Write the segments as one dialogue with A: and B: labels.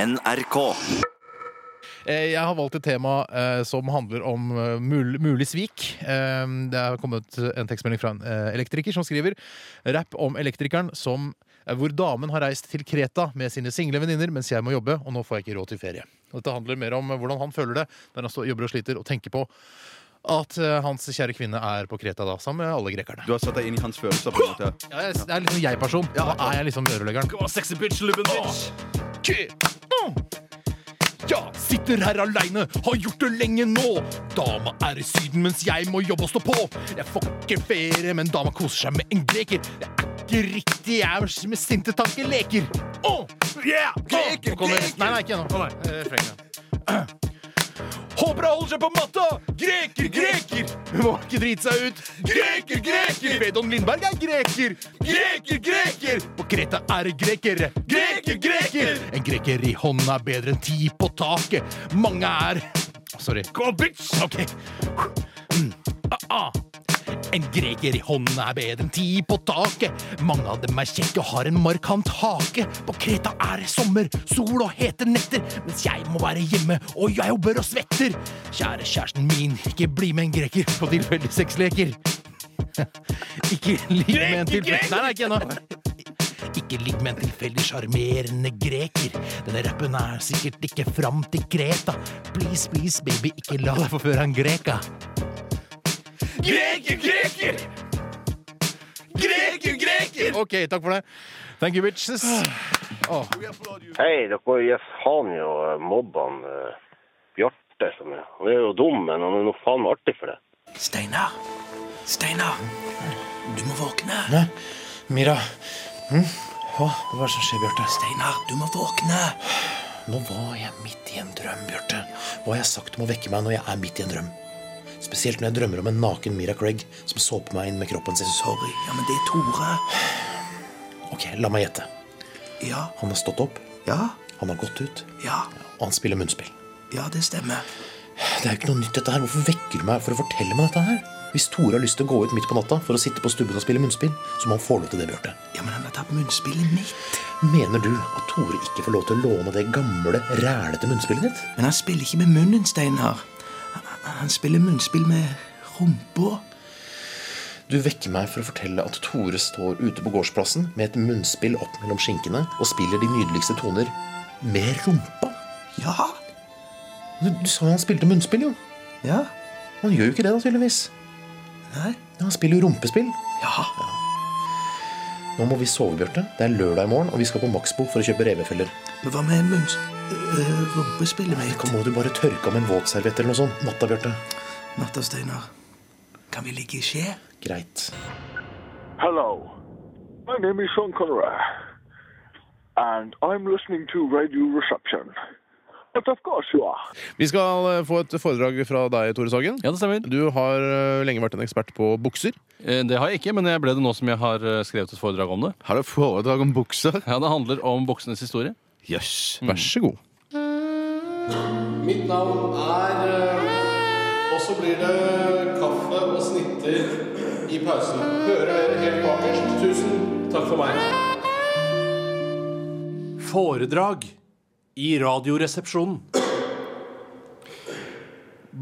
A: NRK.
B: Eh, Jeg har valgt et tema eh, som handler om eh, mul mulig svik. Eh, det er kommet en tekstmelding fra en eh, elektriker som skriver rapp om elektrikeren som eh, hvor damen har reist til Kreta med sine single venninner mens jeg må jobbe, og nå får jeg ikke råd til ferie. Og Dette handler mer om eh, hvordan han føler det når han står- jobber og sliter, og tenker på at eh, hans kjære kvinne er på Kreta da, sammen med alle grekerne.
C: Du har satt deg inn i hans følelser. på en måte
B: Ja, jeg, det er liksom jeg-person. Da er jeg liksom rørleggeren.
D: Come on, sexy bitch, lubben bitch.
B: ikke. Ja, sitter her aleine, har gjort det lenge nå. Dama er i Syden mens jeg må jobbe og stå på. Jeg får ikke ferie, men dama koser seg med en greker. Det er ikke riktig, jeg er med sinte tanker leker. Åh,
D: Yeah!
B: Nå kommer- Nei, nei, ikke ennå. Eh, refrenget. Håper han holder seg på matta! Greker, greker! Må ikke drite seg ut. Greker, greker! Vedon Lindberg er greker. Greker, greker! På Kreta er det grekere. Greker, greker! En greker i hånda er bedre enn ti på taket. Mange er Sorry.
D: Come on, bitch!
B: Ok. Mm. Ah, ah. En greker i hånda er bedre enn ti på taket. Mange av dem er kjekke og har en markant hake. På Kreta er det sommer, sol og hete netter. Mens jeg må være hjemme, og jeg jobber og svetter. Kjære kjæresten min, ikke bli med en greker på tilfeldige sexleker. Ikke ligg med en tilfeldig Nei, nei, ikke ennå. Ikke ligg med en tilfeldig sjarmerende greker. Denne rappen er sikkert ikke fram til Kreta. Please, please, baby, ikke la deg forføre av en greka.
D: Greker, greker! Greker, greker!
B: Ok, takk for det. Thank you, bitches. Åh,
E: Hei, dere gir faen i å mobbe han eh, Bjarte. Som er. Han er jo dum, men han er noe faen meg artig for det.
F: Steinar. Steinar. Du må våkne.
B: Mira. Hm? hva er det som skjer, Bjarte?
F: Steinar, du må våkne.
B: Nå var jeg midt i en drøm, Bjarte. Hva har jeg sagt om å vekke meg når jeg er midt i en drøm? Spesielt når jeg drømmer om en naken Mira Craig som såper meg inn med kroppen sin.
F: Sorry, ja, men det er Tore.
B: Ok, la meg gjette.
F: Ja,
B: Han har stått opp,
F: ja,
B: han har gått ut,
F: ja.
B: og han spiller munnspill.
F: Ja, det stemmer.
B: Det er jo ikke noe nytt, dette her. Hvorfor vekker du meg for å fortelle meg dette her? Hvis Tore har lyst til å gå ut midt på natta for å sitte på stubben og spille munnspill, så må han få lov til det, Bjarte.
F: Ja, men han har tatt munnspillet mitt.
B: Mener du at Tore ikke får lov til å låne det gamle, rælete munnspillet ditt?
F: Men han spiller ikke med munnen, Steinar. Han- Han spiller munnspill med rumpa.
B: Du vekker meg for å fortelle at Tore står ute på gårdsplassen med et munnspill opp mellom skinkene og spiller de nydeligste toner med rumpa.
F: Ja,
B: Du, du sa han spilte munnspill, jo.
F: ja,
B: Han gjør jo ikke det, da, tydeligvis.
F: nei,
B: Han spiller jo rumpespill.
F: ja.
B: Nå må vi sove, Bjarte. Det er lørdag i morgen, og vi skal på Maxbo for å kjøpe revefeller.
F: Men hva med munns... øh, rumpespillet mitt?
B: Kan må du bare tørke om en våtserviett eller noe sånt? Natta, Bjarte.
F: Natta, Steinar. Kan vi ligge i skje?
B: Ah, Greit.
G: Hello, my name is Shankara, and I'm listening to Radio Reception. But of course you are.
H: Vi skal eh, få et foredrag fra deg, Tore Sagen.
I: Ja, det stemmer.
H: Du har eh, lenge vært en ekspert på bukser.
I: Eh, Det har jeg ikke, men jeg ble det nå som jeg har eh, skrevet et foredrag om det.
C: Har du foredrag om bukser?
I: Ja, Det handler om buksenes historie.
C: Jøss. Yes.
H: Vær så god.
J: Mitt navn er eh, Og så blir det kaffe og snitter i pausen. Hører dere helt bakerst? Tusen takk for meg. Foredrag i Radioresepsjonen.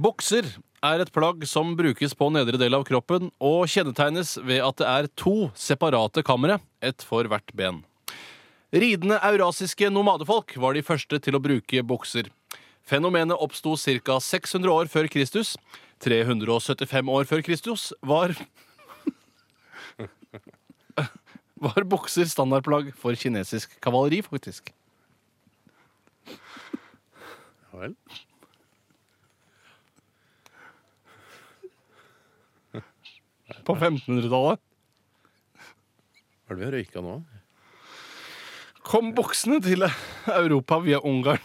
I: Bukser er et plagg som brukes på nedre del av kroppen og kjennetegnes ved at det er to separate kamre, ett for hvert ben. Ridende eurasiske nomadefolk var de første til å bruke bukser. Fenomenet oppsto ca. 600 år før Kristus. 375 år før Kristus var var bukser standardplagg for kinesisk kavaleri, faktisk. På 1500-tallet
H: Hva er det vi har røyka nå?
I: kom buksene til Europa via Ungarn.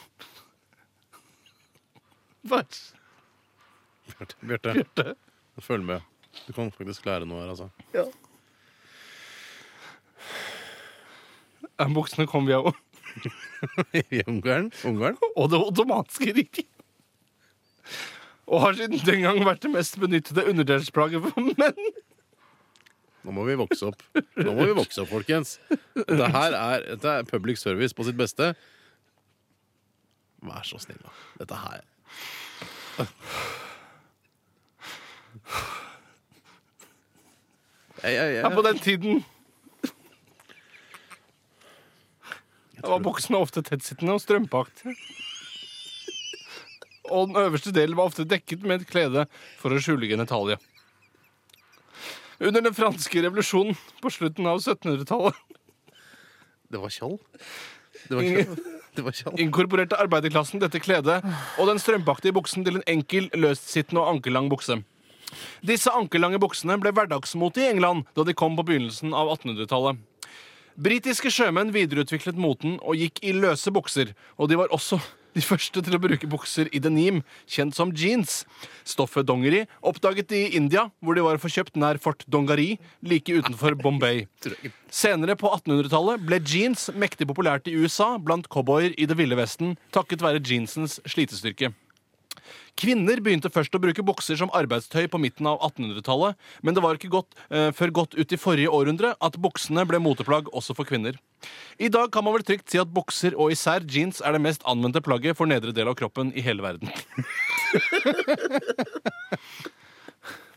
I: Vær s-
H: Bjarte, Bjarte. Følg med. Du kan faktisk lære noe her, altså.
I: Ja, Eh, Buksene kom via Ungarn
H: I Ungarn. Ungarn?
I: og Det ottomanske riket. Og har siden den gang vært det mest benyttede underdelsplagget for menn.
H: Nå må vi vokse opp, Nå må vi vokse opp folkens. Dette er, dette er public service på sitt beste.
B: vær så snill. da. Dette her jeg, jeg,
I: Det er
B: jeg,
I: på den tiden. Da var boksene ofte tettsittende og strømpakt. Og den øverste delen var ofte dekket med et klede for å skjule genitalia. Under den franske revolusjonen på slutten av 1700-tallet
B: Det var Kjall? Det var Kjall? Det var Kjall.
I: inkorporerte arbeiderklassen dette kledet og den strømpaktige buksen til en enkel, løstsittende og ankellang bukse. Disse ankellange buksene ble hverdagsmote i England da de kom på begynnelsen av 1800-tallet. Britiske sjømenn videreutviklet moten og gikk i løse bukser, og de var også de første til å bruke bukser i denim, kjent som jeans. Stoffet dongeri oppdaget de i India, hvor de var forkjøpt nær Fort Dongari, like utenfor Bombay. Senere på 1800-tallet ble jeans mektig populært i USA blant cowboyer i det ville vesten takket være jeansens slitestyrke. Kvinner begynte først å bruke bukser som arbeidstøy på midten av 1800-tallet, men det var ikke godt, eh, før godt ut i forrige århundre at buksene ble moteplagg også for kvinner. I dag kan man vel trygt si at bukser og især jeans er det mest anvendte plagget for nedre del av kroppen i hele verden.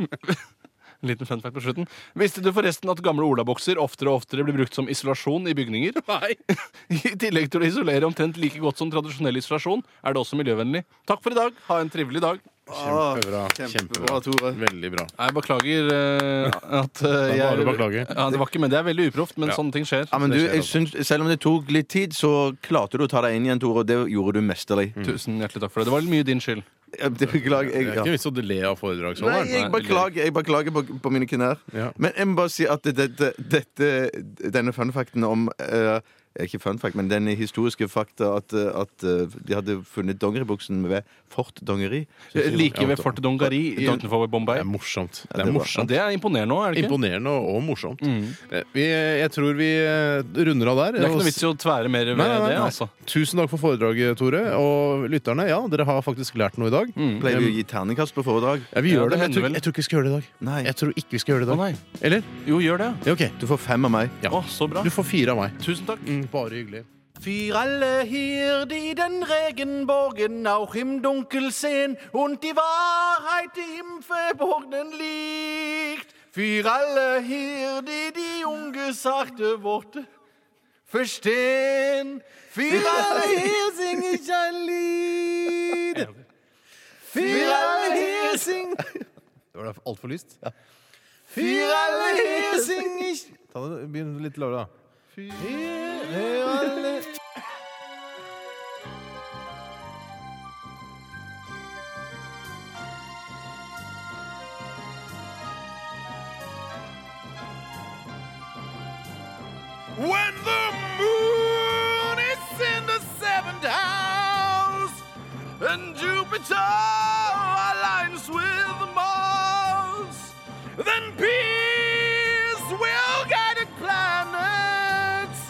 I: Liten fun fact på slutten. Visste du forresten at gamle olabukser oftere og oftere blir brukt som isolasjon i bygninger? Nei. I tillegg til å isolere omtrent like godt som tradisjonell isolasjon, er det også miljøvennlig. Takk for i dag. Ha en trivelig dag.
B: Kjempebra.
K: Kjempebra, Tore.
B: Veldig bra.
I: Jeg beklager eh, at eh,
B: Det er
I: jeg
B: bare å beklage.
I: Ja, det var ikke, men det er veldig uproft, men
B: Ja.
I: sånne ting skjer.
K: Ja, men du,
B: Det skjer
K: jeg
B: altså.
K: syns, Selv om det tok litt tid, så klarte du å ta deg inn igjen, Tore. Og det gjorde du mesterlig.
D: Mm.
I: Tusen hjertelig takk for det. Det var mye din skyld.
K: Ja, Det beklager
B: Det
K: jeg.
B: er
K: Ja.
B: ikke vits å le av
K: Nei,
B: foredragsholderen.
K: jeg beklager, jeg beklager på, på mine knær.
B: Ja.
K: Men jeg må bare si at dette, dette, denne funfacten om eh, Ikke funfact, men den historiske fakta at, eh, at eh, de hadde funnet dongeribuksen ved Fort Dongeri.
I: Eh, Like ved Fort Dongari i-
K: Don-
I: utenfor
B: Det
I: Bombay.
B: er morsomt.
K: det
B: Det er
K: var-
B: morsomt.
I: Det er imponerende òg, er det ikke? Mm.
B: Imponerende og og morsomt. Eh, Vi, jeg tror vi eh, runder av der.
I: Det er ikke
B: Og
I: noe vits i å tvære mer ved
B: Nei, nei, nei,
I: det,
B: nei.
I: altså.
B: Tusen takk for foredraget, Tore. Og lytterne, ja, dere har faktisk lært noe i dag.
K: Pleier vi å gi terningkast på foredrag?
B: Ja, vi
I: Mm. Ja,
B: gjør det, men jeg
I: det hender
B: tror,
I: vel.
B: jeg tror ikke vi skal gjøre det i dag.
K: Nei.
B: Jeg tror ikke vi skal gjøre det i
I: Å
B: dag.
I: nei.
B: Eller?
I: Jo, gjør det.
B: Ja, OK.
K: Du får fem av meg.
B: Ja.
I: Å, så bra.
B: Du får fire av meg. Mm,
I: Tusen takk.
B: Bare hyggelig.
C: Für alle hier, die den Regenbogen auch im Dunkel sehen und die Wahrheit im Verborgenen liegt. Für alle hier, die die ungesagte Worte verstehen. Für alle hier sing ich ein Lied. Für alle hier sing,
B: Det var altfor lyst.
C: für alle hier sing ich.
B: Ta det, Begynn litt lavere, da.
C: When the moon is in the seventh house and Jupiter aligns with Mars, then peace will guide the planets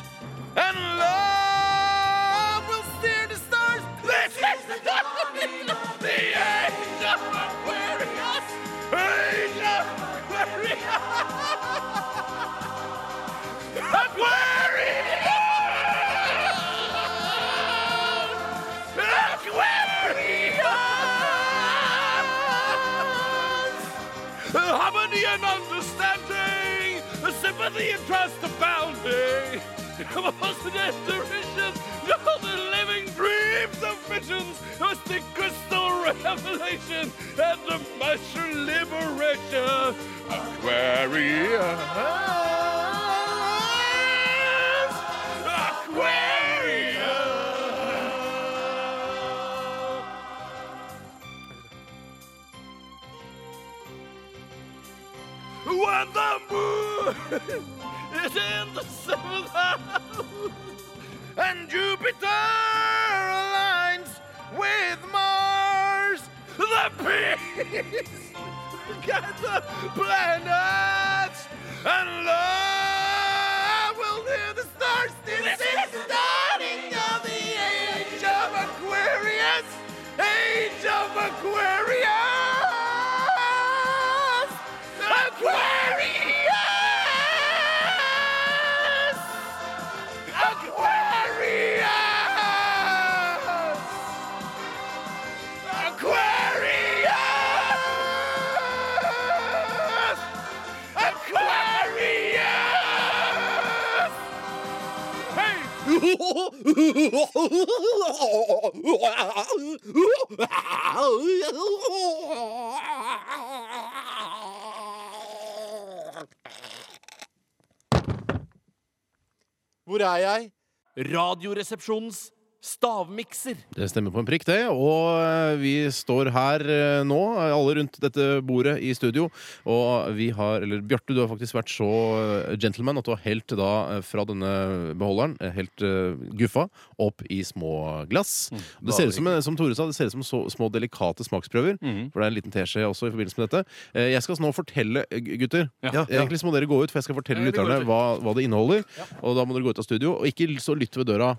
C: and love will steer the stars. This is the dawning of the age of Aquarius. Age of Aquarius. Harmony and understanding, sympathy and trust abounding. Positive derision, all the living dreams of visions, mystic crystal revelation, and the master liberation. Aquarius! Aquarius! When the moon is in the seventh house and Jupiter aligns with Mars, the peace guides the planets and love will near the stars. This is the dawning of the age of Aquarius, age of Aquarius. Aquarius! Aquarius!
I: Hvor er jeg? Radioresepsjonens stavmikser.
B: Det stemmer på en prikk, det. Og eh, vi står her eh, nå, alle rundt dette bordet i studio. Og vi har Eller Bjarte, du har faktisk vært så eh, gentleman at du har helt da eh, fra denne beholderen, eh, helt eh, guffa, opp i små glass. det ser ut som, eh, som Tore sa, det ser ut som så, små delikate smaksprøver. For det er en liten teskje også i forbindelse med dette. Eh, Jeg skal nå fortelle, eh, gutter
I: Ja.
B: Egentlig så må dere gå ut, for jeg skal fortelle
I: Ja, vi går
B: lytterne
I: ut.
B: hva, hva det inneholder. Og da må dere gå ut av studio. Og ikke så lytt ved døra.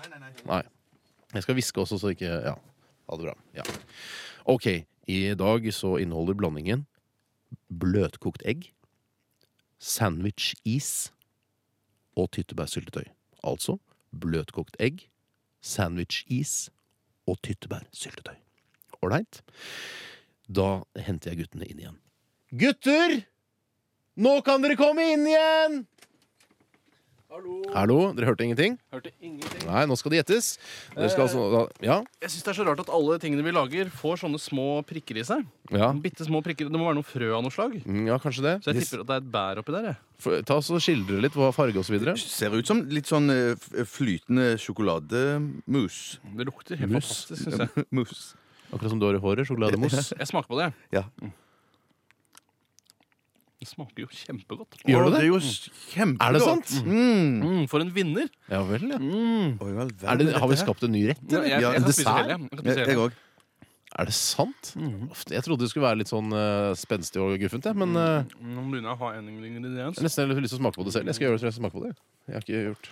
B: Nei. Jeg skal hviske også, så ikke Ja. Ha det bra. Ja. OK. I dag så inneholder blandingen bløtkokt egg, sandwich-is og tyttebærsyltetøy. Altså bløtkokt egg, sandwich-is og tyttebærsyltetøy. Ålreit? Da henter jeg guttene inn igjen. Gutter! Nå kan dere komme inn igjen! Hallo. Dere hørte ingenting?
I: Hørte ingenting.
B: Nei, nå skal det gjettes. Dere skal altså da- Ja?
I: Jeg syns det er så rart at alle tingene vi lager, får sånne små prikker i seg.
B: Ja,
I: Bitte små prikker. Det må være noe frø av noe slag.
B: Mm, ja kanskje det.
I: Så jeg tipper at det er et bær oppi der. jeg.
B: F- Ta oss og Skildre litt hva farge og så videre.
K: Ser ut som litt sånn eh, f- flytende sjokolademus.
I: Det lukter helt
B: Mus.
I: fantastisk, syns jeg.
K: Mus.
B: Akkurat som du har i håret. Sjokolademos.
I: Jeg smaker på det. jeg.
K: Ja.
I: Det smaker jo kjempegodt.
B: Gjør du
K: Å,
B: det?
K: er jo s- kjempegodt.
B: Er det sant?
K: Mm.
I: Mm, for en vinner!
B: Ja vel, ja.
K: Oi, vel, vel, Mm.
B: Er det, har vi
K: dette her.
B: skapt en ny rett?
I: Jeg, jeg,
K: Ja,
I: jeg kan spise
B: dessert?
I: hele. jeg. Jeg kan
K: Jeg-
I: spise
K: Jeg
I: hele.
K: òg.
B: Er det sant? Uff, Jeg trodde det skulle være litt sånn eh, spenstig og guffent, jeg, men eh,
I: Nå begynner jeg å ha en ingrediens.
B: jeg har nesten lyst til å smake på det selv. Jeg skal gjøre det, så jeg smaker på det. Jeg har ikke gjort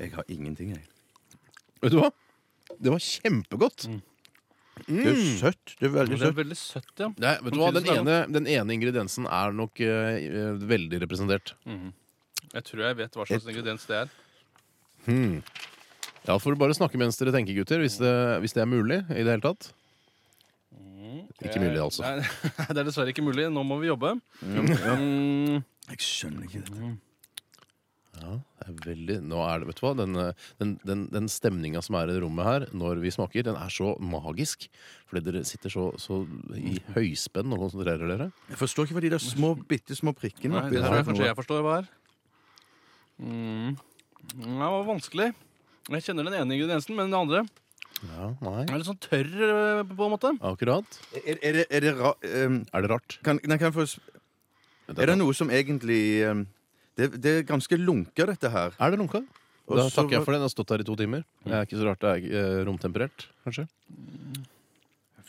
K: Jeg har ingenting, jeg.
B: Vet du hva? Det var kjempegodt.
K: Det er søtt. Det er veldig
I: Det er
K: søtt.
I: veldig søtt, ja.
B: Nei, vet du hva? Den ene, den ene ingrediensen er nok eh, eh, veldig representert.
I: Jeg tror jeg vet hva slags ingrediens det er.
B: Ja, får du bare snakke mens dere tenker, gutter, hvis det, hvis det er mulig i det hele tatt. Ikke mulig, altså.
I: Nei, det er dessverre ikke mulig. Nå må vi jobbe. Mm.
K: Jeg skjønner ikke dette.
B: Det er veldig, nå er det, vet du hva, den, eh, den, den, den stemninga som er i det rommet her når vi smaker, den er så magisk. Fordi dere sitter så, så i høyspenn og konsentrerer dere.
K: Jeg forstår ikke hva de der små, bitte små prikkene
I: Nei,
K: oppi
I: det
K: der
I: tror jeg
K: er for
I: kanskje
K: noe.
I: jeg forstår hva er. Mm. Det var vanskelig. Jeg kjenner den ene ingrediensen, men den andre
B: Ja, nei.
I: er litt sånn tørr, eh, på en måte.
B: Akkurat.
K: Er, er det, er det ra... ehm,
B: Er det rart?
K: kan, nei, kan jeg få s- Er det noe som egentlig ehm, det, det er ganske lunka, dette her.
B: Er det lunka?
K: Og
B: Da
K: så-
B: takker jeg for det. Den har stått her i to timer. Det er ikke så rart det er eh, romtemperert, kanskje.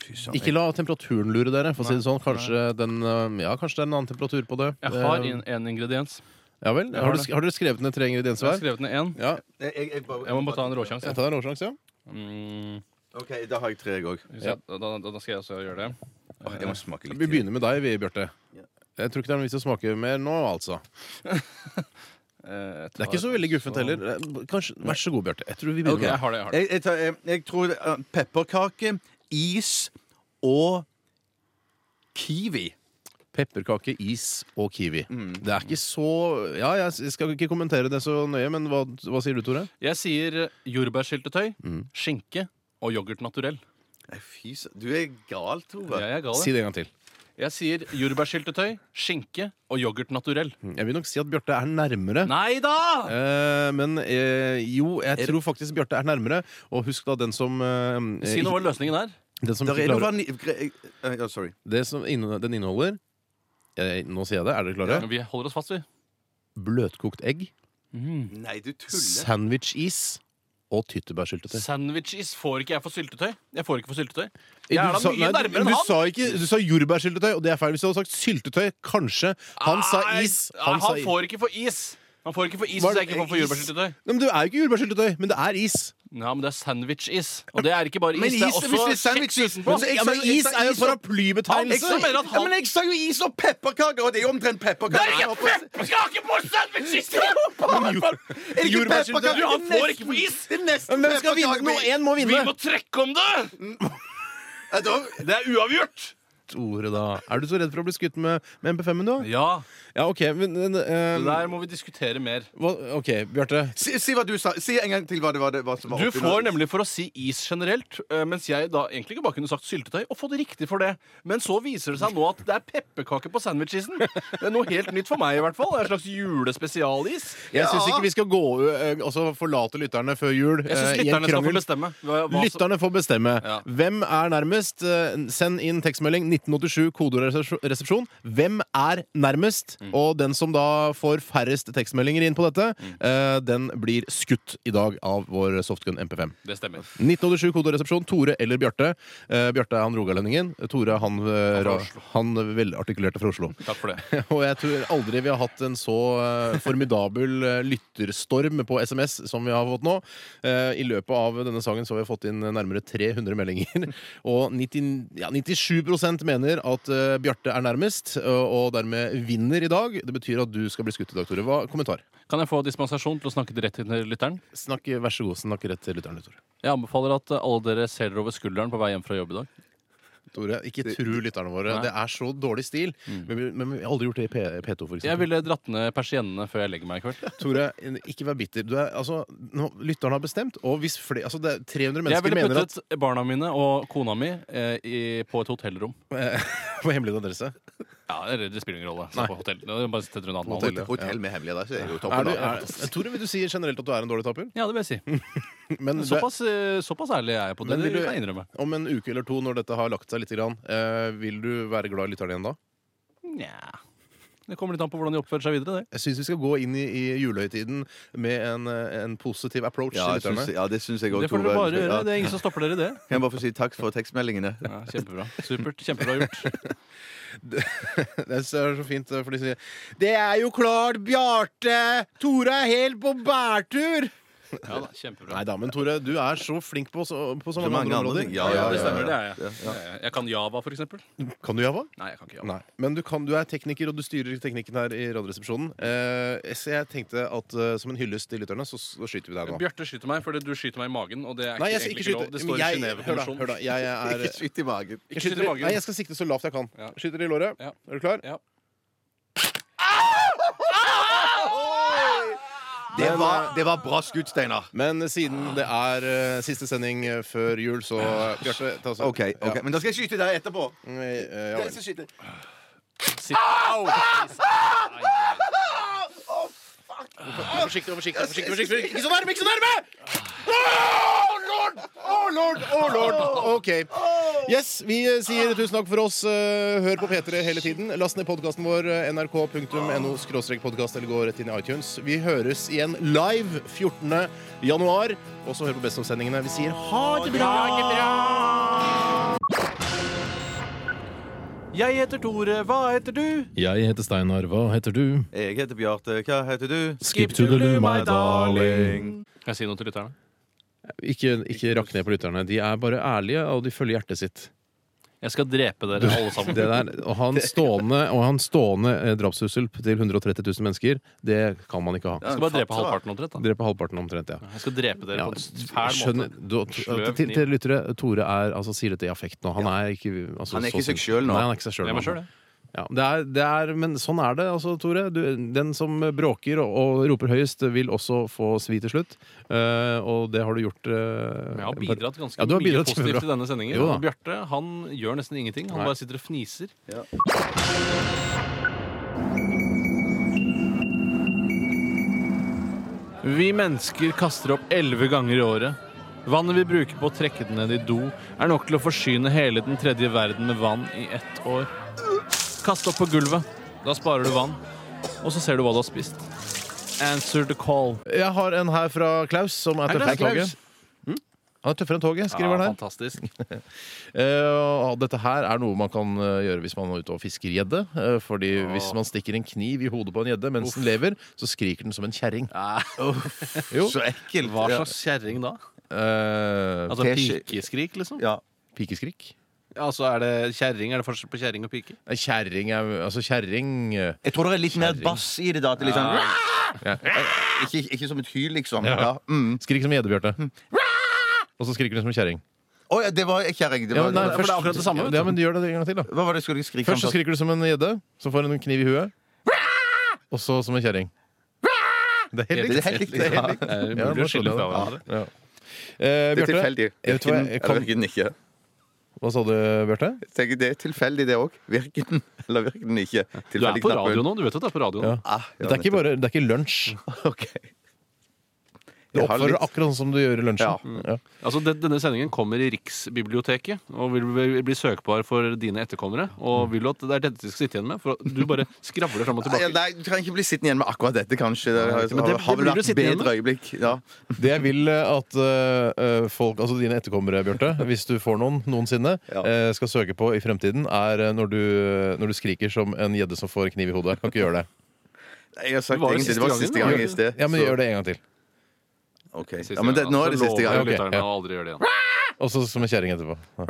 K: Fy søren,
B: Ikke la temperaturen lure dere, for å si det sånn. Kanskje, den, eh, ja, kanskje det er en annen temperatur på det.
I: Jeg har
B: Eh,
I: en, en ingrediens.
B: Ja vel?
I: har
B: Har, du,
I: det.
B: har dere skrevet ned tre ingredienser
I: Jeg har
B: hver?
I: skrevet ned én.
B: Ja,
K: jeg, jeg, jeg bare,
I: Jeg må bare ta en råsjanse.
B: jeg tar en råsjanse, ja.
I: Mm.
K: OK, da har jeg tre, jeg òg.
I: Skal vi se, Da, da, da skal jeg også gjøre det.
K: Jeg må smake litt.
B: Vi begynner med deg, vi, Bjarte.
K: Ja.
B: Jeg tror ikke det er noe vits i å smake mer nå, altså.
I: Eh, jeg
B: Det er ikke så veldig guffent
I: tar-
B: heller. Eh, Kanskje, Vær så god, Bjarte. Jeg tror vi
I: Ok, jeg
B: begynner med deg.
I: har det. jeg har det.
K: Jeg, jeg, tar, jeg, jeg tror eh, pepperkake, is og kiwi.
B: Pepperkake, is og kiwi.
I: Mm.
B: Det er ikke så Ja, jeg skal ikke kommentere det så nøye, men hva, hva sier du, Tore?
I: Jeg sier jordbærsyltetøy,
B: Mm.
I: skinke og yoghurt naturell.
K: Nei, Fy søren. Du er gal, Tore.
I: Jeg er gal.
B: Si det en gang til.
I: Jeg sier jordbærsyltetøy, skinke og yoghurt naturell.
B: Mm. Jeg vil nok si at Bjarte er nærmere.
I: Nei da!
B: Eh, men eh, jo, jeg tror faktisk Bjarte er nærmere. Og husk da den som eh,
I: Si noe
B: ikke-
I: om hva løsningen er.
B: Den som
K: Der
B: ikke
K: er noe
B: klarer
K: vanilje... gre- eh, Ja, sorry.
B: Det som inne, den inneholder eh, Nå sier jeg det. Er dere klare?
I: Vi holder oss fast, vi.
B: Bløtkokt egg, Mm.
K: Nei, du tuller.
B: sandwich-is og tyttebærsyltetøy.
I: Sandwiches får ikke jeg for syltetøy. Jeg får ikke for syltetøy.
B: Eh, Du
I: Jeg er da
B: sa-
I: mye
B: nei,
I: nærmere
B: du,
I: enn
B: du
I: han!
B: sa ikke, du sa jordbærsyltetøy, og det er feil. Hvis du hadde sagt syltetøy, kanskje. Han sa
I: Nei,
B: is.
I: Han,
B: sa is.
I: får ikke for is. Han får ikke for is
B: Var
I: hvis jeg
B: det
I: ikke får for
B: is?
I: jordbærsyltetøy.
B: Nei, men Du er jo ikke jordbærsyltetøy, men det er is.
I: Ja, men det er sandwich-is. Og det er ikke bare is,
K: Men
I: det
K: is,
I: er
K: hvis det
I: også
K: er sandwich
I: kjeks
K: is,
I: utenpå.
K: så- Jeg
B: Ja,
K: sa
B: men
K: is,
B: Is er jo en
K: is og-
I: Jeg
B: paraplybetegnelse.
I: sa- mener at
K: Ja,
I: han-
K: men jeg sa jo is og pepperkaker, og det er jo omtrent pepperkaker.
I: Dere skal ikke på sandwiches!
K: Er det ikke
B: Jordbærsyltetøy.
K: pepperkaker?
I: Du, han får ikke på is!
K: Det er nesten
B: Men hvem skal vinne?
K: pepperkaker.
B: Noe én må
I: Vi
B: vinne.
I: må trekke om det!
K: Ja, Eh, da-
I: Det er uavgjort!
B: Tore, da. Er du så redd for å bli skutt med, med MP5-en, du?
I: Ja,
B: Ja, OK. Men, eh,
I: det der må vi diskutere mer.
B: hva, OK, Bjarte.
K: Si, si hva du sa. Si en gang til hva det var, det, hva som var
I: Du
K: oppi
I: får
K: nå.
I: nemlig for å si is generelt, eh, mens jeg da egentlig bare kunne sagt syltetøy og fått riktig for det. Men så viser det seg nå at det er pepperkake på sandwichisen. Det er noe helt nytt for meg i hvert fall. Det er en slags julespesialis.
B: Jeg syns ikke vi skal gå eh, altså forlate lytterne før jul
I: Jeg
B: eh,
I: syns
B: i en
I: lytterne skal få
B: krangel.
I: bestemme. hva- hva som-
B: Lytterne får bestemme.
I: Ja.
B: Hvem er nærmest? Eh, Send inn tekstmelding 1987 kodoresepsjon. Hvem er nærmest?
I: Mm.
B: Og den som da får færrest tekstmeldinger inn på dette,
I: Mm.
B: eh, den blir skutt i dag av vår softgun MP5.
I: Det stemmer.
B: 1987 kodoresepsjon. Tore eller Bjarte. Eh, Bjarte er han rogalendingen. Tore er han, eh, ra- han velartikulerte fra Oslo.
I: Takk for det.
B: Og jeg tror aldri vi har hatt en så eh, formidabel eh, lytterstorm på SMS som vi har fått nå. Eh, I løpet av denne sangen så har vi fått inn nærmere 300 meldinger. Og 90, ja, 97 mener at eh, Bjarte er nærmest, eh, og dermed vinner i dag. Det betyr at du skal bli skutt i dag, Tore. Hva, kommentar?
I: Kan jeg få dispensasjon til å snakke direkte til lytteren?
B: Snakk, vær så god, snakk rett til lytteren, Tore.
I: Jeg anbefaler at eh, alle dere ser dere over skulderen på vei hjem fra jobb i dag.
B: Tore, ikke tru lytterne våre.
I: Nei.
B: Det er så dårlig stil. Men, vi, men vi har aldri gjort det i P, P2, for
I: Jeg
B: eksempel.
I: ville dratt ned persiennene før jeg legger meg i kveld.
B: Tore, ikke vær bitter. Du er, altså, nå, lytterne har bestemt, og hvis flere altså, det er 300
I: Jeg
B: mennesker
I: ville
B: mener at
I: puttet barna mine og kona mi eh, i, på et hotellrom.
B: På hemmelig adresse.
I: Ja, eller Det spiller ingen rolle. Så på hotell. Det er Bare sitte rundt annen hånd.
K: Hotell, hotell med hemmelig adresse er jo
B: Er
K: toppen.
B: du,
K: da.
B: er, Tore, vil du si generelt at du er en dårlig taper?
I: Ja, det vil jeg si.
B: Men du er-
I: Såpass, eh, såpass ærlig er jeg på det.
B: Men vil
I: Det
B: du-
I: kan jeg innrømme.
B: om en uke eller to, når dette har lagt seg litt, grann, eh, vil du være glad i lytterne igjen da?
I: Nja Det kommer litt an på hvordan de oppfører seg videre. det
B: Jeg syns vi skal gå inn i, i julehøytiden med en, eh, en positiv approach
K: Ja, jeg
B: til lytterne.
K: syns- ja, det syns jeg òg,
I: Det får dere bare gjøre.
K: Ja.
I: Det er ingen som stopper dere i det.
K: Kan jeg bare få si takk for tekstmeldingene?
I: Ja, kjempebra. Supert. Kjempebra gjort.
B: Det er så så fint, eh, for de sier Det er jo klart, Bjarte! Tore er helt på bærtur!
I: Ja da, kjempebra.
B: Nei da, men Tore, du er så flink på så, på så,
K: Så
B: mange, andre
K: mange andre
B: områder.
K: ting. Ja,
I: Ja,
K: ja,
I: det
K: ja,
I: stemmer.
K: ja.
I: Det er jeg. Eh, Jeg kan Java, for eksempel.
B: Kan du java?
I: Nei, jeg kan ikke Java.
B: Nei, Men du, kan, du er tekniker, og du styrer teknikken her i Radioresepsjonen. Eh, så jeg tenkte at eh, som en hyllest til lytterne, så, så skyter vi deg nå.
I: Bjarte skyter meg fordi du skyter meg i magen, og det er
B: Nei, jeg skal ikke
I: egentlig ikke
B: skyte.
I: lov. Det står i
B: jeg, hør da, hør da,
I: Genévekonvensjonen.
B: jeg er
K: Ikke skyt i
B: jeg
I: Ikke
K: magen.
I: skyt
B: skyter,
I: i magen.
B: Nei, jeg skal sikte så lavt jeg kan.
I: Ja.
B: Skyter i låret.
I: Ja.
B: Er du klar? Ah!
I: Ja.
K: Det var, det var bra skutt, Steinar.
B: Men siden det er eh, siste sending eh, før jul, så eh, Bjarte, ta så
K: Ok, ok, Men da skal jeg skyte deg etterpå.
B: Ja. Mm, eh, ja
K: Jeg
B: vel.
K: skal skyte.
I: Sitt- Au!
B: Vær Forsiktig, vær forsiktig, vær forsiktig, vær forsiktig. Ikke så nærme, ikke så nærme! Å, lord! Å, lord! Å, lord! OK. Yes, vi eh, sier tusen takk for oss. Eh, Hør på P3 hele tiden. Last ned podkasten vår eh, nrk.no podkast eller gå rett inn i iTunes. Vi høres igjen live 14. januar. Og så hør på Best of-sendingene. Vi sier ha det bra!
I: Jeg heter Tore. Hva heter du?
B: Jeg heter Steinar. Hva heter du?
K: Jeg heter Bjarte. Hva heter du?
B: Skip
I: to the loo, my darling. Kan jeg si noe til lytterne?
B: Ikke, ikke rakk ned på lytterne. De er bare ærlige, og de følger hjertet sitt.
I: Jeg skal drepe dere alle sammen.
B: Det der, og han stående, og han stående eh, drapstrussel til 130 000 mennesker, det kan man ikke ha.
I: Jeg skal bare drepe halvparten omtrent. da
B: Drepe halvparten omtrent, ja.
I: Jeg skal drepe dere
B: ja
I: på en fæl
B: skjønner,
I: måte.
B: du,
I: Sløv
B: til,
I: kniv.
B: til lyttere, Tore er, altså, sier dette i affekt nå. Han er ikke, altså,
K: Han er
B: så
K: ikke seg
B: sint.
K: selv nå.
B: Nei, han er ikke seg selv
I: Det er meg
B: nå.
I: selv, det.
B: Ja, det er, det er, men sånn er det, altså, Tore. Du, den som bråker og, og roper høyest, vil også få svi til slutt. Eh, og det har du gjort. eh,
I: Jeg har bidratt ganske
B: Ja, du har
I: mye
B: bidratt
I: positivt
B: kjempebra.
I: til denne sendingen.
B: Jo da.
I: Og Bjarte han gjør nesten ingenting. Han
B: Nei.
I: bare sitter og fniser. Vi mennesker kaster opp elleve ganger i året. Vannet vi bruker på å trekke det ned i do, er nok til å forsyne hele den tredje verden med vann i ett år. Kast opp på gulvet. Da sparer du vann. Og så ser du hva du har spist. Answer the call.
B: Jeg har en her fra Klaus, som er
I: det
B: tøffere enn
I: Klaus?
B: toget. Han er tøffere enn toget, skriver han her.
I: fantastisk.
B: Eh, og dette her er noe man kan eh, gjøre hvis man er ute og fisker gjedde. eh, fordi hvis man stikker en kniv i hodet på en gjedde mens den lever, så skriker den som en kjerring. Jo.
K: Så ekkelt.
I: Hva slags kjerring da?
B: Eh,
I: Altså
K: Teskje-
I: pikeskrik, liksom?
K: Ja.
B: pikeskrik.
I: Altså, er det kjerring? Er det forskjell på kjerring og pike?
B: Nei, Kjerring er Altså, kjerring eh,
K: Jeg tror det er litt mer bass i det. da at det er litt sånn,
B: Ja.
K: ikke, ikke som et hyl, liksom.
B: Ja.
K: Ja. Mm.
I: Hm.
B: Skrik som gjedde, Bjarte. Og så skriker den som en kjerring.
K: Å ja, det var kjerring. Det
B: Ja,
K: var,
B: men nei,
K: det var-
I: for det er akkurat det samme, vet du.
B: Ja, men du gjør det en gang til, da.
K: Hva var det skulle jeg skrike
B: Først så
K: om?
B: skriker du som en gjedde, så får hun en kniv i huet. Og så som en kjerring. Det er helt
K: Det er
B: likt.
K: helt likt, ja.
I: Det er
B: Ja,
I: mulig
B: bare
I: å skille
B: skjønner
I: fra
B: det.
I: hverandre.
B: Ja. Eh,
K: altså. Det er
B: Bjarte,
K: tilfeldig.
B: jeg vet hva,
K: Virken
B: jeg
K: eller
B: kan,
K: virken ikke.
B: hva sa du, Bjarte?
K: Jeg tenker Det er tilfeldig, det òg. Virker den eller virker den ikke?
I: Du er på radio nå. Du vet at det er på radio nå.
B: Ja.
K: Ah, ja,
B: Det er ikke bare det er ikke lunsj.
K: Ok.
B: Du
K: Jeg har
B: oppfører deg
K: litt-
B: akkurat sånn som du gjør i lunsjen. Ja.
I: Altså, det- Denne sendingen kommer i Riksbiblioteket og vil bli- bli søkbar for dine etterkommere. Og vil du at det er dette de skal sitte igjen med? For at du bare skravler fram og
K: Nei,
I: tilbake.
K: Nei, du kan ikke bli sittende igjen med akkurat dette, kanskje. Det har,
I: men det- det
K: har vel
I: blir du
K: vært
I: sittende igjen
K: bedre øyeblikk. Ja.
B: Det jeg vil eh, at eh, folk, altså dine etterkommere, Bjarte, hvis du får noen noensinne,
K: Ja.
B: eh, skal søke på i fremtiden, er eh, når du, når du skriker som en gjedde som får kniv i hodet. Kan ikke gjøre det.
K: Jeg har sagt
I: Det var jo
K: egentlig,
I: siste
K: det var
I: gangen,
K: siste
I: var det
K: gang i
I: ikke?
K: sted.
B: Ja, men
K: så-
B: gjør det en gang til.
K: Ok. Ja, men det, nå er det siste
B: jeg
K: gang.
B: ok,
I: altså, lytterne
B: ja.
I: å aldri gjøre det igjen.
B: Og så som en kjerring etterpå. Ja.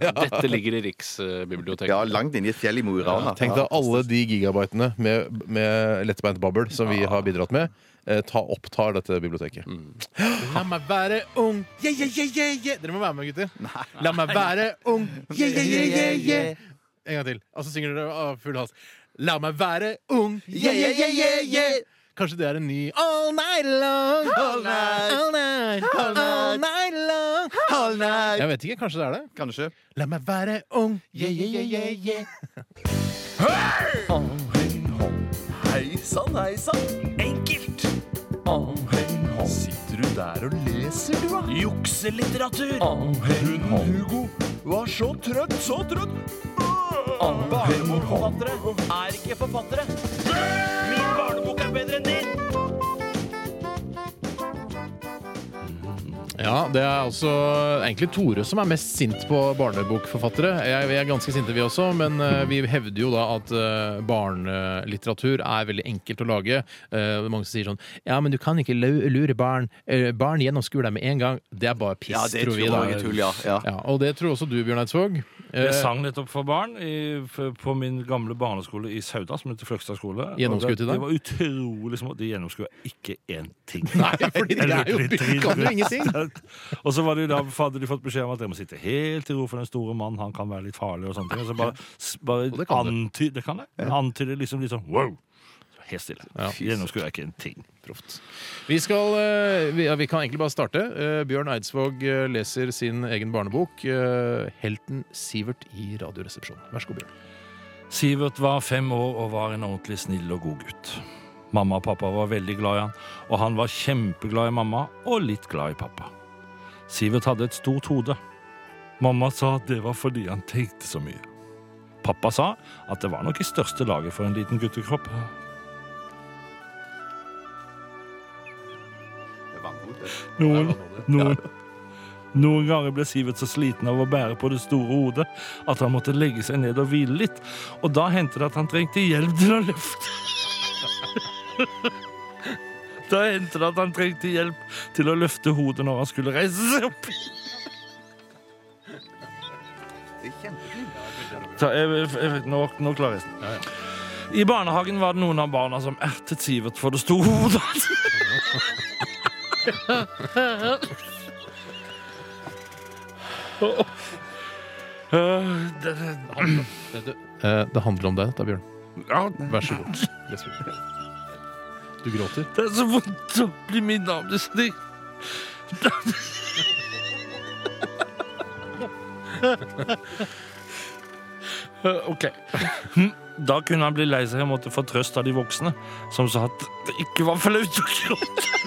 I: Dette ligger i Riksbiblioteket.
K: Ja, langt inne i et fjell i Mo i Rana.
B: Tenk deg alle de gigabytene med, med lettbeint babbel som vi har bidratt med, eh, ta, opptar dette biblioteket. La meg være ung, yeah, yeah, yeah, yeah, yeah. Dere må være med, gutter. La meg være ung, yeah, yeah, yeah, yeah, yeah. En gang til. Og så synger dere av full hals. La meg være ung, yeah, yeah, yeah, yeah, yeah. Kanskje det er en ny All night long, all night, all night, all night, long. Jeg vet ikke, kanskje det er det.
K: Kanskje.
B: La meg være ung, yeah, yeah, yeah, yeah, yeah.
D: Hei sann, hei sann. Enkelt. Sitter du der og leser, du, da? Jukselitteratur. Hun Hugo var så trøtt, så trøtt. Barnebokforfattere er ikke forfattere. Min barnebok er bedre enn din.
B: Ja, det er altså egentlig Tore som er mest sint på barnebokforfattere. Jeg, vi er ganske sinte vi også, men eh, vi hevder jo da at eh, barnelitteratur er veldig enkelt å lage. Eh, mange som sier sånn Ja, men du kan ikke lu- lure barn, eh, barn gjennom skolen med en gang. Det er bare piss,
K: Ja, det
B: tror vi.
K: tror
B: da.
K: jeg er tull, ja. Ja.
B: og det tror også du, Bjørn Eidsvåg.
L: Jeg
B: Eh,
L: sang nettopp for barn i, f- på min gamle barneskole i Sauda, som heter Fløgstad skole. Og
B: Gjennomskuet
L: det-
B: i dag?
L: De var utrolig små. De gjennomskua ikke én ting.
B: Nei, fordi de er jo, kan jo ingenting!
L: og så var de da, hadde de fått beskjed om at dere må sitte helt i ro for den store mannen, han kan være litt farlig og sånne ting. Og så bare, s- bare
B: det kan du.
L: antyde Det kan det. Antyde liksom litt sånn wow! Så Helt stille.
B: Ja.
L: Gjennomskua ikke en ting.
B: Vi, skal, eh, vi, ja, vi kan egentlig bare starte. Eh, Bjørn Eidsvåg eh, leser sin egen barnebok, eh, 'Helten Sivert i Radioresepsjonen'. Vær så god, Bjørn.
L: Sivert var fem år og var en ordentlig snill og god gutt. Mamma og pappa var veldig glad i han, og han var kjempeglad i mamma og litt glad i pappa. Sivert hadde et stort hode. Mamma sa at det var fordi han tenkte så mye. Pappa sa at det var nok i største laget for en liten guttekropp. Noen, noen, noen ganger ble Sivert så sliten av å bære på det store hodet at han måtte legge seg ned og hvile litt, og da hendte det at han trengte hjelp til å løfte. Da hendte det at han trengte hjelp til å løfte hodet når han skulle reise seg opp. Ta, jeg, jeg, jeg, nå, nå klarer jeg det. I barnehagen var det noen av barna som ertet Sivert for det store hodet hans. Øh, det- det-
B: Eh, det handler om deg, da, Bjørn.
L: Ja,
B: Vær så god. Les videre. Du gråter.
L: Det er så vondt å bli minnet om disse ting. OK. Da kunne han bli lei seg og måtte få trøst av de voksne, som sa at det ikke var flaut å gråte.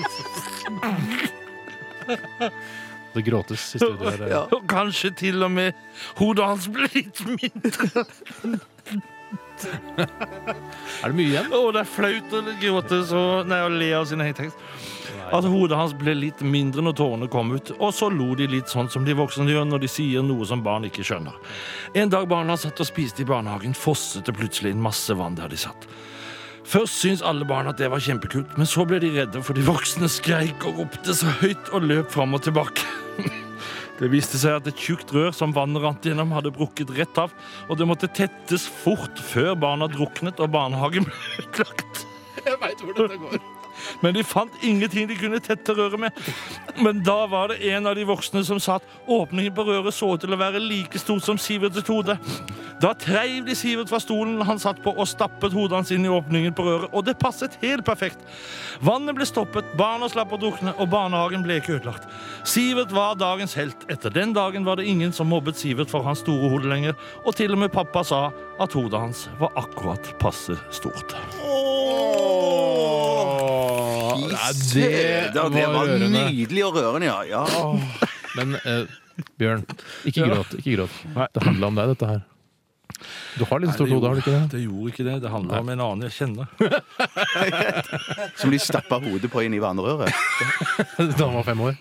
B: Det gråtes i studio her. eh.
L: Og kanskje til og med hodet hans ble litt mindre.
B: Er det mye igjen?
L: Å, det er flaut å gråte så Nei, å le av sin egen tekst. At hodet hans ble litt mindre når tårene kom ut, og så lo de litt sånn som de voksne gjør når de sier noe som barn ikke skjønner. En dag barna satt og spiste i barnehagen, fosset det plutselig inn masse vann der de satt. Først syntes alle barn at det var kjempekult, men så ble de redde, for de voksne skreik og ropte så høyt og løp fram og tilbake. Det viste seg at et tjukt rør som vannet rant gjennom, hadde brukket rett av, og det måtte tettes fort før barna druknet og barnehagen ble ødelagt.
B: Jeg veit hvor dette går.
L: Men de fant ingenting de kunne tette røret med. Men da var det en av de voksne som sa at åpningen på røret så ut til å være like stort som Siverts hode. Da treiv de Sivert fra stolen han satt på, og stappet hodet hans inn i åpningen på røret, og det passet helt perfekt. Vannet ble stoppet, barna slapp å drukne, og barnehagen ble ikke ødelagt. Sivert var dagens helt. Etter den dagen var det ingen som mobbet Sivert for hans store hode lenger, og til og med pappa sa at hodet hans var akkurat passe stort.
K: Nei,
B: det
K: det, det
B: var
K: var
B: rørende.
K: nydelig og rørende, ja. ja.
B: Men eh, Bjørn, ikke
L: Ja.
B: gråt. Ikke gråt. Det handla om deg, dette her. Du har litt stort hode, har du ikke det?
L: Det gjorde ikke det. Det handla om en annen jeg kjenner.
K: Som de stappa hodet på inn i vannrøret.
B: da han var fem år.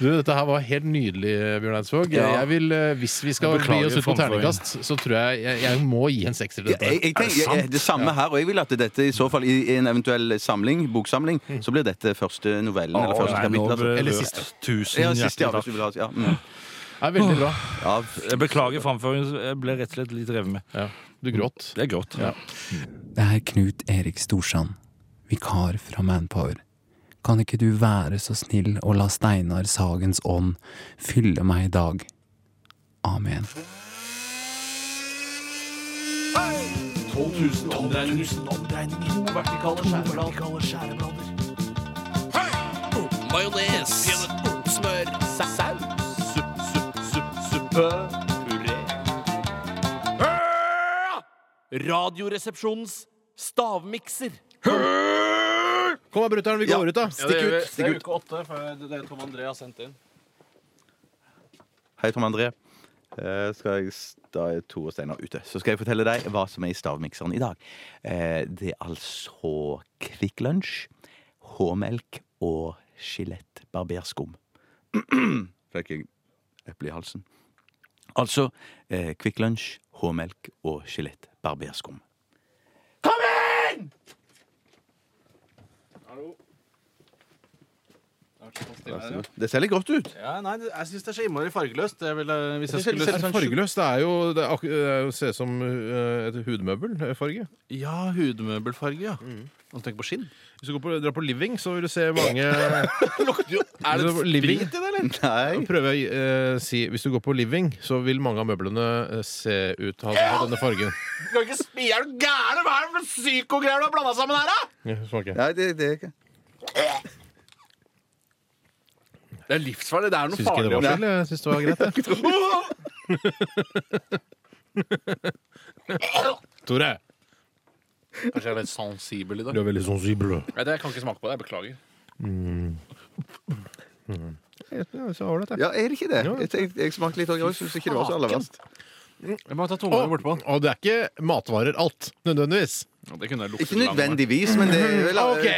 B: Du, dette her var helt nydelig, Bjørn Eidsvåg.
K: Ja.
B: Jeg vil, eh, hvis vi skal
L: Jeg
B: bli oss
L: beklager
B: ut på
L: framføringen.
B: terningkast, så tror jeg jeg, jeg må gi en sekser til
K: Jeg, jeg,
B: dette.
K: tenker, jeg, jeg, det samme her, og jeg vil at dette i så fall i en eventuell samling, boksamling,
B: Mm.
K: så blir dette første novellen. Eller første kapittel. Altså.
B: Eller siste.
L: Tusen
K: Ja, siste, ja, hvis
L: hjertelig takk.
K: du vil ha ja. Mm.
B: Det er veldig bra.
K: ja.
L: Jeg beklager framføringen. Jeg ble rett og slett litt revet med.
B: Ja. Du gråt.
L: Det er grått.
B: Ja.
M: Det er Knut Erik Storsand, vikar fra Manpower. Kan ikke du være så snill å la Steinar Sagens ånd fylle meg i dag? Amen.
J: 12 000 omdreininger. To vertikale skjæreblader.
I: Majones. Smør. Saus. Supp, supp, supp, suppe. Puré. Radioresepsjonens stavmikser.
B: Kom da, brutter'n, vi går ut, da. Stikk ut.
I: Det er uke åtte, for det er Tom André har sendt inn.
K: Hei, Tom André. Eh, skal jeg s- da er Tore Steinar ute. Så skal jeg fortelle deg hva som er i stavmikseren i dag. Eh, det er altså Kvikk Lunsj, H-melk og Skjelett barberskum. Fikk jeg eple i halsen. Altså eh, Kvikk Lunsj, H-melk og Skjelett barberskum. Det ser litt godt ut.
I: Ja, nei, det- jeg syns det er så innmari fargeløst. Det ville, hvis jeg
B: Det
I: skulle sånn
B: er sånn fargeløst. Det er jo det er, ak- det er jo- ser ut som eh, et hudmøbelfarge.
I: Ja, hudmøbelfarge, ja. Og tenk på skinn.
B: Hvis du går på, drar på Living, så vil du se mange
I: Er det
B: Så living-
I: sprit i det, eller?
B: Nå
K: Nei.
B: prøver jeg å si Hvis du går på Living, så vil mange av møblene eh, se ut til å ha denne fargen.
I: Du kan ikke spi, er du gæren? Hva er det for psykogreier du har blanda sammen her, da?
B: Ja, smaker.
K: Nei, det, det er ikke
I: Det er livsfarlig. Det er noe
B: Syns ikke det var
I: farlig
B: så ille. Jeg Syns det var greit, det. Tore,
I: Kanskje jeg er litt sensibel i dag.
B: du er veldig sensibel.
I: Nei, det- Jeg kan ikke smake på det. Jeg beklager.
K: Ja, er det ikke det? Jeg, tenkte, jeg smakte litt òg. Jeg syns ikke det var så aller verst.
I: Jeg må ta
B: Og,
I: tunga bortpå.
B: og det er ikke matvarer alt, nødvendigvis.
I: Det kunne jeg lukte
K: Ikke
I: lang vei.
K: nødvendigvis, men det er vel
B: OK.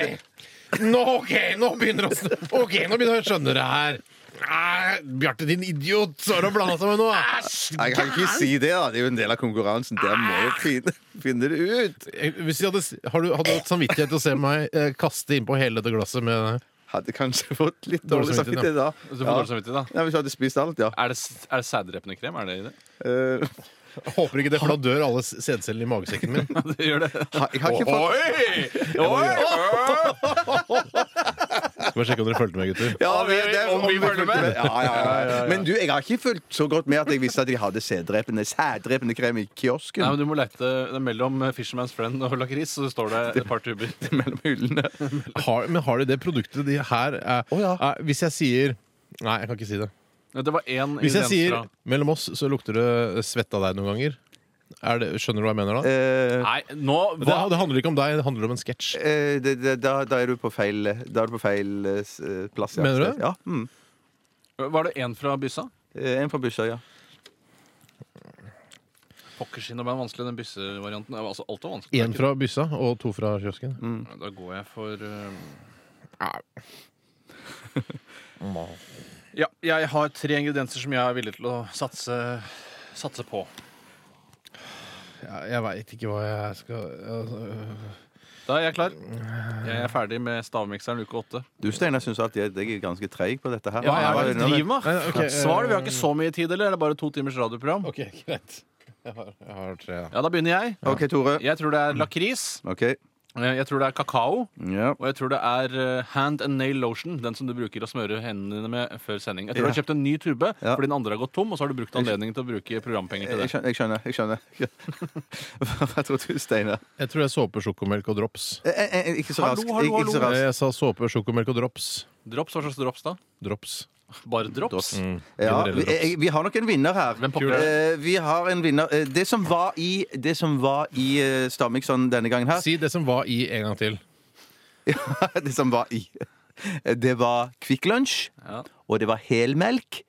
B: Nå, ok, nå begynner oss Ok, nå begynner jeg å skjønne det her. Nei, Bjarte, din idiot! Så har du blanda seg med noe!
K: Nei, Jeg kan ikke si det, da. Det er jo en del av konkurransen. Der må jeg finne, finne det ut.
B: Eh, Hvis jeg hadde, har du, hadde du hatt samvittighet til å se meg eh, kaste innpå hele dette glasset med
K: Hadde kanskje fått litt
B: Dårlig
K: dårlig samvittighet
B: samvittighet,
K: da.
I: Så får
K: Ja.
I: dårlig samvittighet, da.
K: Nei, hvis jeg hadde spist alt, ja.
I: Er det, er det sæddrepende krem? Er det i det?
K: Eh,
B: Håper ikke det, for da dør alle sædcellene i magesekken min.
I: det gjør det.
K: ha- jeg har ikke fått
I: Oi! Oi!
B: Skal bare sjekke om dere fulgte med, gutter.
K: ja,
I: Om vi- om vi følger med.
K: Ja, ja, ja, ja. Men du, jeg har ikke fulgt så godt med at jeg visste at de hadde sæddrepende sæddrepende krem i kiosken
I: Nei, men du må lete det er mellom eh, Fisherman's Friend og lakris, så står det et par tuber.
K: mellom hyllene.
B: Har, men har de det produktet de her er,
K: Å, ja.
B: er, Hvis jeg sier Nei, jeg kan ikke si det.
I: Det var én
B: Hvis jeg
I: ingrediens
B: sier
I: fra-
B: 'mellom oss', så lukter det svett av deg noen ganger. Er det, skjønner du hva jeg mener da?
K: Eh,
I: Nei, nå
B: Det,
I: hva?
B: det handler ikke om deg, det handler om en sketsj.
K: eh, det, det, da, da er du på feil Da er du på feil eh, s- eh, plass. Ja.
B: Mener du?
K: Ja. Mm.
I: Var det én fra byssa?
K: Eh, En fra Bussøya. Ja.
I: Pokkerskinn og band vanskelig, den byssevarianten. Altså, alt var vanskelig.
B: Én fra byssa og to fra kiosken.
I: Da går jeg for um, Ja, jeg har tre ingredienser som jeg er villig til å satse, satse på.
B: Jeg, jeg veit ikke hva jeg skal altså,
I: Da er jeg klar. Jeg er ferdig med stavmikseren uke åtte.
K: Du, Steinar, syns at jeg jeg er ganske treig på dette her.
I: Hva er det du driver med?
B: Nei, nei, ok,
I: Svar det.
K: eh,
I: Vi har ikke så mye tid, eller? Er det bare to timers radioprogram?
B: OK, greit. Jeg har, jeg har tre, da.
I: Ja, da begynner jeg.
K: OK, Tore.
I: Jeg tror det er lakris.
K: OK.
I: Eh, Jeg tror det er kakao,
K: Ja.
I: og jeg tror det er eh, hand and nail lotion. Den som du bruker å smøre hendene dine med før sending. Jeg tror
K: Ja.
I: du har kjøpt en ny tube,
K: Ja.
I: fordi den andre har gått tom, og så har du brukt
K: Jeg skjø-
I: anledningen til å bruke programpenger til
K: Jeg
I: det.
K: skjønner. Jeg skjønner, jeg skjønner. Hva tror du, Steinar?
B: Jeg tror det er såpe, sjokomelk og drops.
K: Eh, eh, eh, Ikke så
I: Hallo,
K: raskt.
I: hallo,
K: Ikke så
I: hallo.
K: raskt.
B: Jeg sa såpe, sjokomelk og drops.
I: Drops, hva slags drops da?
B: Drops.
I: Bare drops?
B: Mm.
K: Ja,
B: Generelle
K: vi,
B: drops.
K: eh, vi har nok en vinner her.
I: pokker er
K: Eh, vi har en vinner. Eh, Det som var i, det som var i eh, Stamikson denne gangen her
B: Si det som var i en gang til.
K: Det som var i eh, Det var Kvikk Lunsj,
I: Ja.
K: og det var helmelk,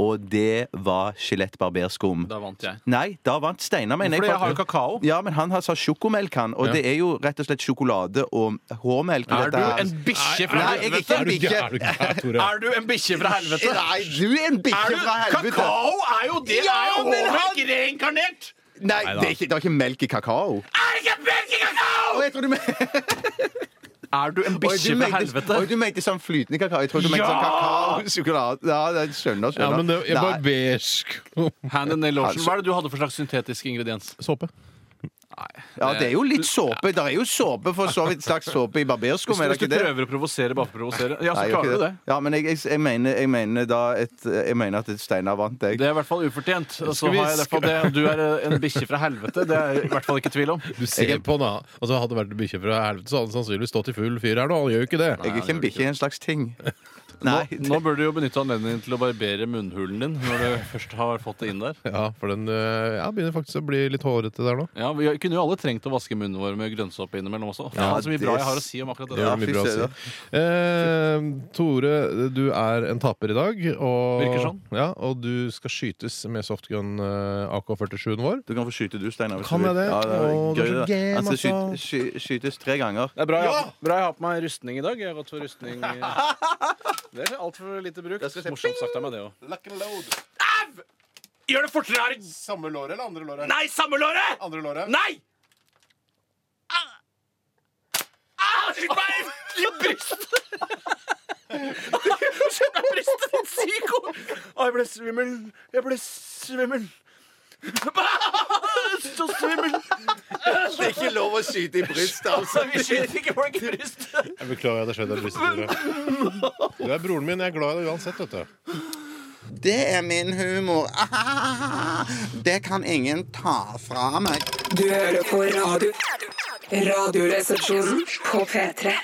K: og det var skjelett barberskum.
I: Da vant jeg.
K: Nei, da vant Steinar, mener
I: Fordi jeg har jo kakao.
K: Ja, men han har sa sjokomelk, han. Og
B: Ja.
K: det er jo rett og slett sjokolade og hårmelk. i
I: Er
K: dette
I: du
K: her.
I: en bikkje fra
K: Nei, jeg er ikke
I: helvete?
K: en bikkje.
B: Er du gæren, Tore?
I: Er du en bikkje fra helvete?
K: Nei, du er en
I: Er
K: bikkje
I: du,
K: fra helvete.
I: kakao er jo det!
K: Ja,
I: er jo
K: men han-
I: hårmelk reinkarnert!
K: Nei, det er, ikke, det er ikke melk i kakao.
I: Er det ikke melk i kakao?!
K: Å, jeg tror du mener
I: Er du en bikkje fra helvete?
K: Oi, du mente sånn flytende kakao. Jeg tror du mente sånn kakao sjokolade. Ja, det skjønner, skjønner.
B: Ja, men det er
K: Nei.
B: barbersk
I: Hand and nail lotion. Hva er det du hadde for slags syntetisk ingrediens?
B: såpe.
K: ja, det er jo litt såpe. Det er jo såpe for så vidt slags såpe i barberskum,
I: Hvis du,
K: er det
I: hvis du
K: ikke det?
I: prøver å provosere bare for å provosere, ja, så
K: Nei,
I: klarer
K: ikke
I: du det.
K: Ja, men jeg, jeg, jeg, mener, jeg mener da et, Jeg mener at et Steinar vant, jeg.
I: Det er i hvert fall ufortjent. Og så
B: Skal vi
I: har jeg i hvert fall det. Du er en bikkje fra helvete. Det er jeg i hvert fall ikke tvil om.
B: Du ser på den, da. Altså, hadde det vært bikkje fra helvete, så hadde han sannsynligvis stått i full fyr her nå. Han gjør jo ikke det.
K: jeg er ikke en bikkje, jeg er en slags ting.
I: Nå,
K: Nei,
I: nå bør du jo benytte anledningen til å barbere munnhulen din når du først har fått det inn der.
B: Ja, for den eh, ja, begynner faktisk å bli litt hårete der nå.
I: Ja, Vi kunne jo alle trengt å vaske munnen vår med grønnsåpe innimellom også. Ja,
K: Ja,
I: det er så mye
K: det-
I: bra jeg har å si om akkurat det.
B: Det
K: Ja,
B: er mye
K: fy
B: bra å
K: søren.
B: si. Eh, Tore, du er en taper i dag. Og,
I: Virker sånn.
B: Ja, og du skal skytes med softgun eh, AK-47-en vår.
K: Du kan få skyte du, Steinar. hvis
B: Kan
K: du vil.
B: jeg det?
K: Ja, det
B: Å, det
K: er
B: er
K: gøy,
B: så
K: det.
B: gøy,
K: Han skal
B: altså.
K: skyte- sky- skytes tre ganger.
I: Det er bra, jeg, har på meg rustning i dag. Jeg har gått for rustning. eh, Det er altfor lite bruk. Morsomt sagt av meg, det òg.
J: Lock and load.
I: Gjør det fortere! Ari.
J: Samme låret eller andre låret?
I: Nei, samme låret!
J: Andre låret?
I: Nei! Au! Au! Skyt meg i brystet! Skyt meg i brystet, din psyko! Å, jeg ble svimmel. Jeg ble svimmel. Så svimmel.
K: Det er ikke lov å skyte i brystet, altså.
I: Vi skyter ikke folk i brystet.
B: Jeg beklager at det skjedde. Dere. Du er broren min. Jeg er glad i deg uansett. Vet du.
N: Det er min humor. Ah, det kan ingen ta fra meg.
O: Du hører på radio. Radioresepsjonen på P3.